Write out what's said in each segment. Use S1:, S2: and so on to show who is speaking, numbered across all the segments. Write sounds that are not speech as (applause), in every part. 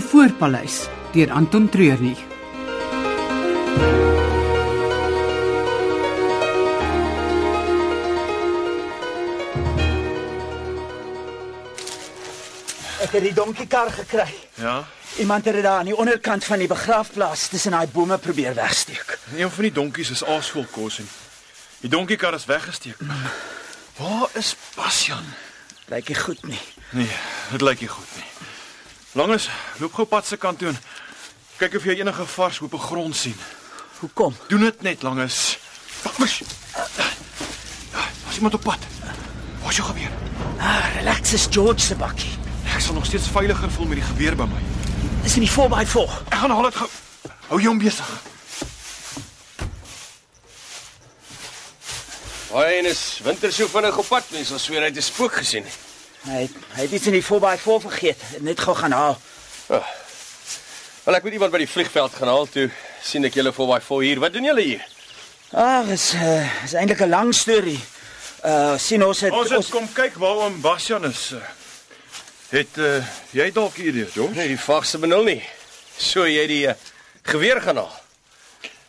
S1: Spoorpaleis deur Anton Treurnig.
S2: Ek het die donkiekar gekry.
S3: Ja.
S2: Iemand het dit daar aan die onderkant van die begraafplaas tussen daai bome probeer wegsteek.
S3: Een van die donkies is aasskool kos en die donkiekar is weggesteek. Waar is Basjan?
S2: Lyk nie goed nie.
S3: Nee, dit lyk nie goed nie. Langes, loop gou pad se kant toe en kyk of jy enige vars hoop grond sien.
S2: Hoekom?
S3: Doen dit net, Langes. Wag. As iemand op pad. Wat jou gebeur?
S2: Ah, relax is George se bakkie.
S3: Ek sal nog steeds veiliger voel met die geweer by my.
S2: Dis in die 4x4.
S3: Ek gaan haal dit gou. Hou jou besig.
S4: Hy en is winter so vinnig op pad, mense sal sweer hy het 'n spook gesien.
S2: Hy het, hy het iets in die 4x4 vergeet. Net gou gaan haal.
S4: Wel ek weet iemand by die vliegveld gaan haal toe sien ek julle voor by voor hier. Wat doen julle hier?
S2: Ag, is uh, is eintlik 'n lang storie. Uh sien ons het
S3: Ons het kom kyk waar oom Basjan is. eh. Het uh, jy dalk 'n idee, Jong?
S4: Nee, die vaagste benul nie. So jy die uh, geweer gaan haal.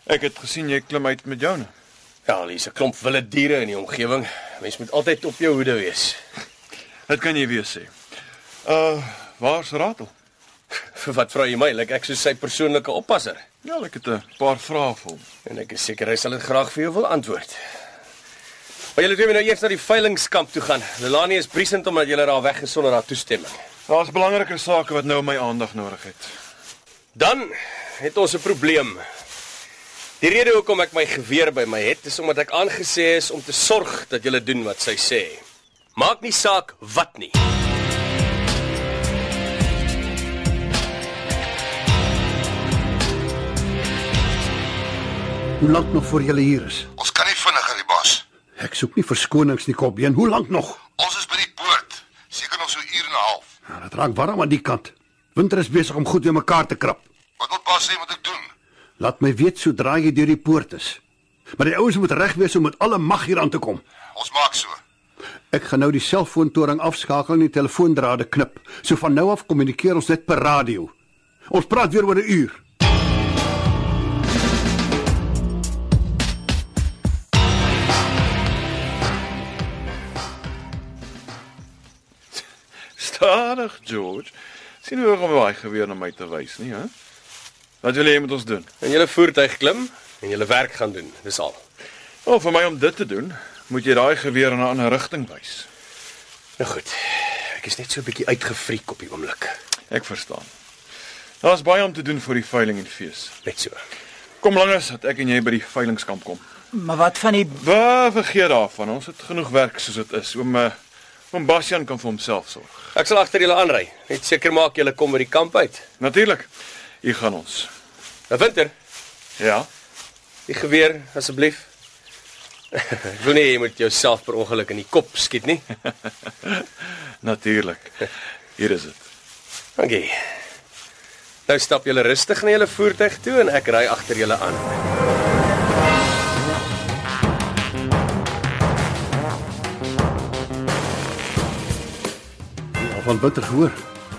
S3: Ek het gesien jy klim uit met joune.
S4: Ja, hier's 'n klomp wilde diere in die omgewing. Mens moet altyd op jou hoede wees.
S3: Dit kan jy weer sê. Uh, waar's Ratel?
S4: (laughs) Vir wat vra jy my? Lyk ek soos sy persoonlike oppasser?
S3: Ja, ek het 'n paar vrae vir hom.
S4: En ek is seker hy sal dit graag vir jou wil antwoord. Maar julle twee moet nou eers na die veilingskamp toe gaan. Lelani is briesend omdat julle haar weggesonder sonder haar toestemming.
S3: Daar's belangriker sake wat nou my aandag nodig het. (laughs)
S4: Dan het ons 'n probleem. Die rede hoekom ek my geweer by my het, is omdat ek aangesê is om te sorg dat jy doen wat sy sê. Maak nie saak wat nie.
S5: Hoe lank nog voor julle hier is?
S6: Ons kan nie vinniger die bas.
S5: Ek soek nie verskonings nie, Kopbeen. Hoe lank nog?
S6: Ons is by die poort. Seker nog so 'n uur en 'n half.
S5: Ja, dit raak warm aan die kant. Winter is besig om goed weer mekaar te krap.
S6: Wat wil pas sê moet ek doen?
S5: Laat my weet sodra jy deur die poort is. Maar die ouens moet reg wees om met alle mag hier aan te kom.
S6: Ons maak so.
S5: Ek gaan nou die selfoontoring afskakel en die telefoondrade knip. So van nou af kommunikeer ons net per radio. Ons praat weer oor 'n uur.
S3: Stadig, George. Sien hoe hom daai geweer na my te wys, nie, hè? Wat wil jy met ons doen?
S4: En julle voertuig klim en julle werk gaan doen. Dis al.
S3: Wel, vir my om dit te doen, moet jy daai geweer in 'n ander rigting wys.
S4: Nou goed. Ek is net so 'n bietjie uitgefriek op die oomblik.
S3: Ek verstaan. Daar's baie om te doen vir die veiling en fees.
S4: Net so.
S3: Kom langer dat ek en jy by die veilingskamp kom.
S2: Maar wat van die
S3: Wa, vergeet daarvan. Ons het genoeg werk soos dit is. Oom eh, oom Basjan kan vir homself sorg.
S4: Ek sal agter julle aanry. Net seker maak julle kom by die kamp uit.
S3: Natuurlik. Hier gaan ons.
S4: Nou winter,
S3: Ja.
S4: die geweer asseblief. (laughs) Ek wil nie jy moet jouself per ongeluk in die kop skiet nie.
S3: Natuurlik. Hier is dit.
S4: Dankie. Nou stap julle rustig na julle voertuig toe en ek ry agter julle aan.
S5: Ja, Al van bitter gehoor.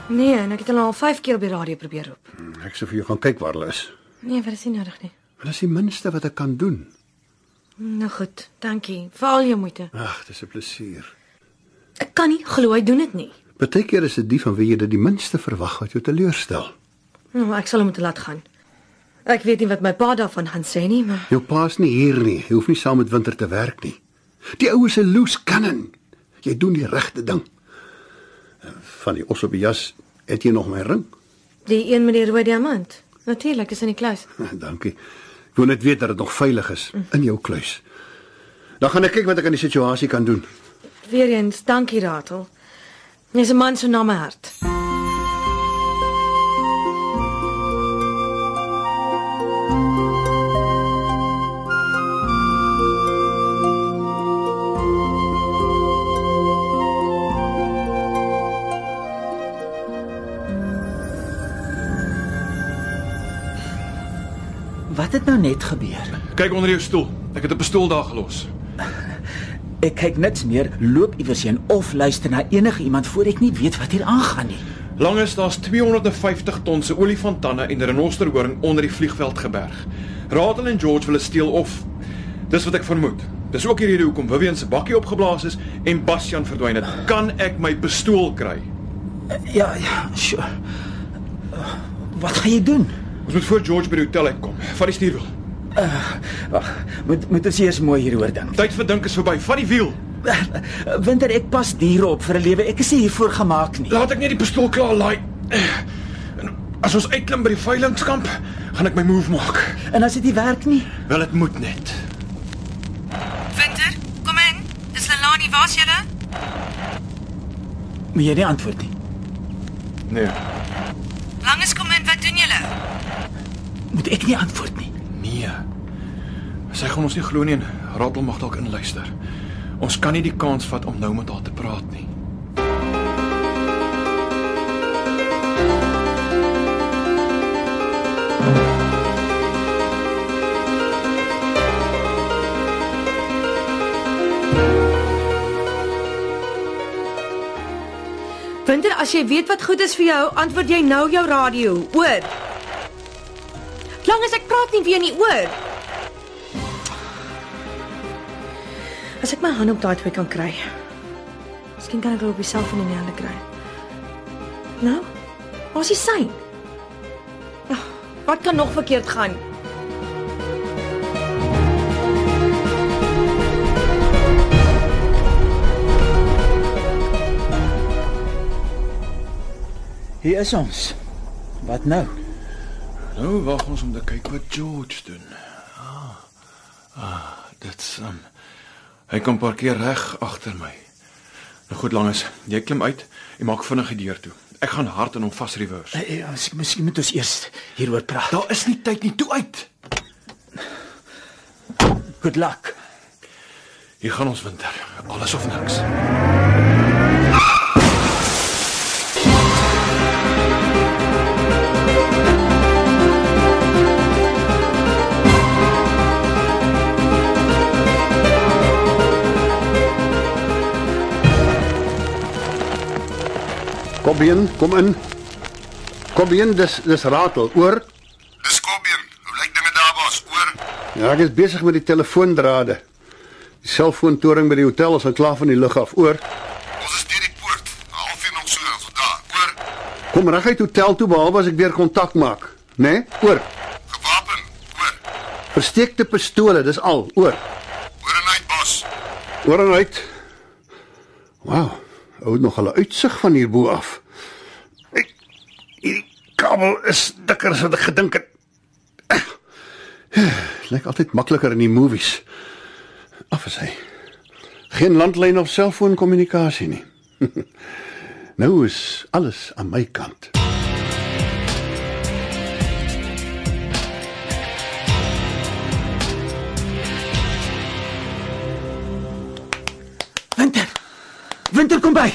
S7: Nee, en ek het hulle al 5 keer by die radio probeer roep.
S5: Ek sê vir jou gaan kyk waar hulle is.
S7: Nee, wat is nie nodig nie.
S5: Dit is die minste wat ek kan doen.
S7: Nou goed, dankie vir al jou moeite.
S5: Ag, dis 'n plesier.
S7: Ek kan nie glo hy doen dit nie.
S5: Partykeer is dit die van wie jy dit die minste verwag wat jou teleurstel.
S7: Nou, maar ek sal hom moet laat gaan. Ek weet nie wat my pa daarvan gaan sê nie, maar
S5: Jou pa's nie hier nie. Hy hoef nie saam met Winter te werk nie. Die ouwe se loose cannon. Jy doen die regte ding. Van die os op die jas het jy nog my ring. (laughs)
S7: die een met die rooi diamant. Natuurlik is in die kluis.
S5: Dankie. Ek wil net weet dat dit nog veilig is in jou kluis. Dan gaan ek kyk wat ek aan die situasie kan doen.
S7: Weereens dankie Ratel. Jy's 'n man so na my hart.
S2: wat het nou net gebeur?
S3: Kyk onder jou stoel. Ek het 'n pistool daar gelos.
S2: Ek kyk niks meer, loop iewers heen of luister na enige iemand voor ek nie weet wat hier aangaan nie.
S3: Langes daar's 250 ton se olifantanne en renosterhoring onder die vliegveld geberg. Radel en George wil dit steel of dis wat ek vermoed. Dis ook die rede hoekom Vivian se bakkie opgeblaas is en Bastian verdwyn het. Kan ek my pistool kry?
S2: Ja, ja, sure. Wat gaan jy doen?
S3: Ons moet voor George by die hotel uitkom. Vat die stuurwiel.
S2: Wag, moet moet ons eers mooi hieroor dink.
S3: Tyd vir dink is verby. Vat die wiel.
S2: Eh, Winter, ek pas diere op vir 'n lewe. Ek is nie hiervoor gemaak nie.
S3: Laat ek net die pistool klaar laai. En as ons uitklim by die veilingskamp, gaan ek my move maak.
S2: En as dit nie werk nie,
S3: Wel dit moet net.
S8: Winter, kom in. Dis Lelani, waar's julle?
S2: moet jy nie antwoord nie.
S3: Nee.
S8: Langes kom in, wat doen julle?
S2: Moet ek nie antwoord nie.
S3: Nee. Sy gaan ons nie glo nie en Radel mag dalk inluister. Ons kan nie die kans vat om nou met haar te praat nie.
S7: Winter, as jy weet wat goed is vir jou, antwoord jy nou jou radio, hoor? Lank as ek praat nie weer nie, hoor. As ek my hand op daai twee kan kry. Miskien kan ek hulle op die selfoon in die hande kry. Nou? Waar's die sein? Ah, Wat kan nog verkeerd gaan?
S2: Hier is ons. Wat nou?
S3: Nou wag ons om te kyk wat George doen. Ah, ah dit's um, hy kom parkeer reg agter my. Nou goed langes, jy klim uit en maak vinnig die deur toe. Ek gaan hard en hom vas reverse.
S2: Eh, eh, Ons miskien moet ons eers hieroor praat.
S3: Daar is nie tyd nie, toe uit.
S2: Good luck.
S3: Hier gaan ons winter. Alles of niks.
S5: Kom in, kom in. Kom in, dis dis ratel, oor.
S6: Dis Kobbeen. Hoe lyk dinge daar bos? Oor.
S5: Ja, ek is besig met die telefoondrade. Die selfoontoring by die hotel is al klaar van die lug af, oor.
S6: Ons is deur die poort. 'n Halfuur nog so en so daar. Oor.
S5: Kom reguit hotel toe behalwe as ek weer kontak maak, né? Nee? Oor.
S6: Gewapen. Oor.
S5: Versteekte pistole, dis al, oor.
S6: Oor en uit bos.
S5: Oor en uit. Wow, ou het nog 'n uitsig van hierbo af. Ek hierdie kabel is dikker as wat ek gedink het. Dit lyk altyd makliker in die movies. Af is hy. Geen landlyn of selfoonkommunikasie nie. (laughs) nou is alles aan my kant.
S2: Winter. Winter kom by.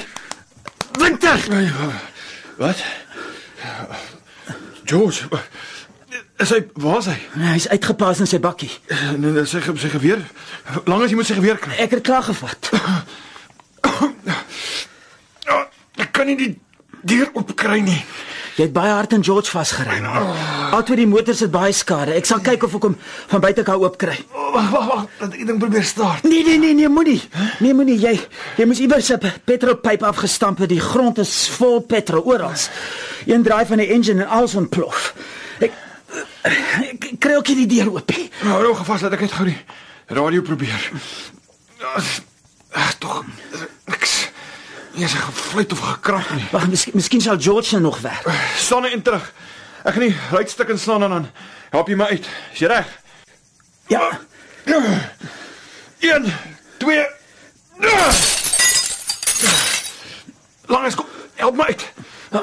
S2: Winter.
S3: Ai, wa- Wat? George, wa- is hy waar's hy?
S2: Hy's uitgepas in sy bakkie.
S3: Nee, nee, sy ge- sy geweer. Langes jy moet sy geweer kry.
S2: Ek het klaar gevat.
S3: Ah, Ek kan nie die deur oopkry nie.
S2: Jy het baie hard aan George vasgery. Altyd die motor sit baie skade. Ek sal kyk of ek hom van buite kan oop kry.
S3: Wag, wag, wag, dat ek ding probeer staart.
S2: Nee nee nee nee moenie. Nee moenie jy jy moes iewers 'n pe- petrolpyp afgestamp het. Die grond is vol petrol oral. Een draai van die engine en alles ontplof. Ek ek kry ook nie die deur oop nie.
S3: Nou, hou nog vas dat ek net gou die radio probeer. Ag, tog niks. Nie eens 'n gefluit of gekrak nie.
S2: Wag, miskien, miskien sal George nou nog werk.
S3: Staan en terug. Ek gaan die ruitstuk inslaan en dan help jy my uit. Is jy reg?
S2: Ja.
S3: 1 2 Langs kom. Help my uit.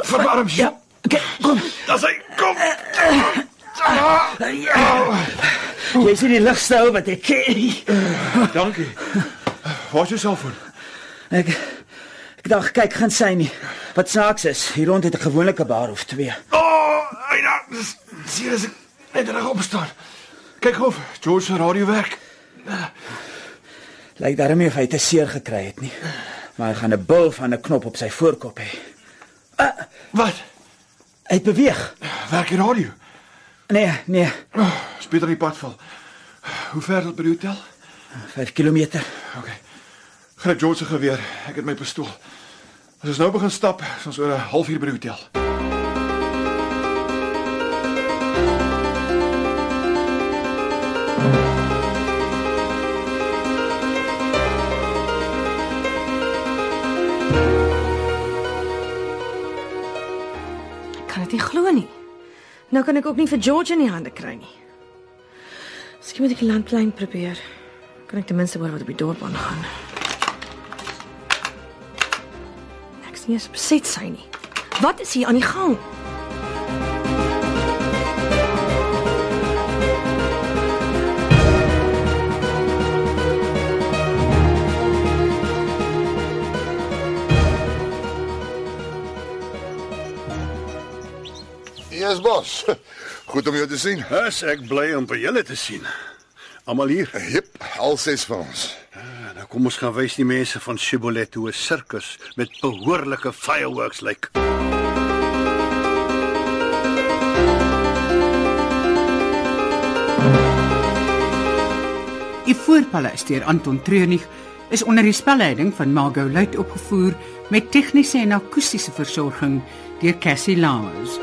S3: Verwarm jy?
S2: Ja. Okay, kom.
S3: Daar's hy. Kom.
S2: Ja. Jy sien die ligste ou wat ek (laughs) ken. nie.
S3: Dankie. Waar is jou selfoon?
S2: Ek ek dink kyk gaan sy nie. Wat saaks is, hier rond het 'n gewone bar of twee.
S3: Oh, ai nou, dis sien as ek net reg opstaan. Kyk of George se radio werk.
S2: Lyk daarmee of hy te seer gekry het nie. Maar hy gaan 'n bil van 'n knop op sy voorkop hê.
S3: Wat?
S9: Hy het beweeg.
S3: Werk die radio?
S9: Nee, nee.
S3: Oh, Speel dan die pad val. Hoe ver tot by die hotel?
S9: 5 km.
S3: OK. Gryp George se geweer. Ek het my pistool. As ons nou begin stap, is ons oor 'n halfuur by die hotel.
S7: Ek kan dit nie glo nie. Nou kan ek ook nie vir George in die hande kry nie. Miskien moet ek die landlyn probeer. Kan ek ten minste hoor wat op die dorp aangaan. Ek sien jy's beset sy nie. Wat is hier aan die gang?
S6: Hier is Bos. (laughs) Goed om jou te sien.
S5: Dis ek bly om by julle te sien. Almal hier.
S6: Hip, al ses van ons.
S5: Ja, nou kom ons gaan wys die mense van Shibboleth hoe 'n sirkus met behoorlike fireworks lyk.
S2: Die voorpaleis deur Anton Treurnig is onder die spelleiding van Margot Luit opgevoer met tegniese en akoestiese versorging deur Cassie Lawrence.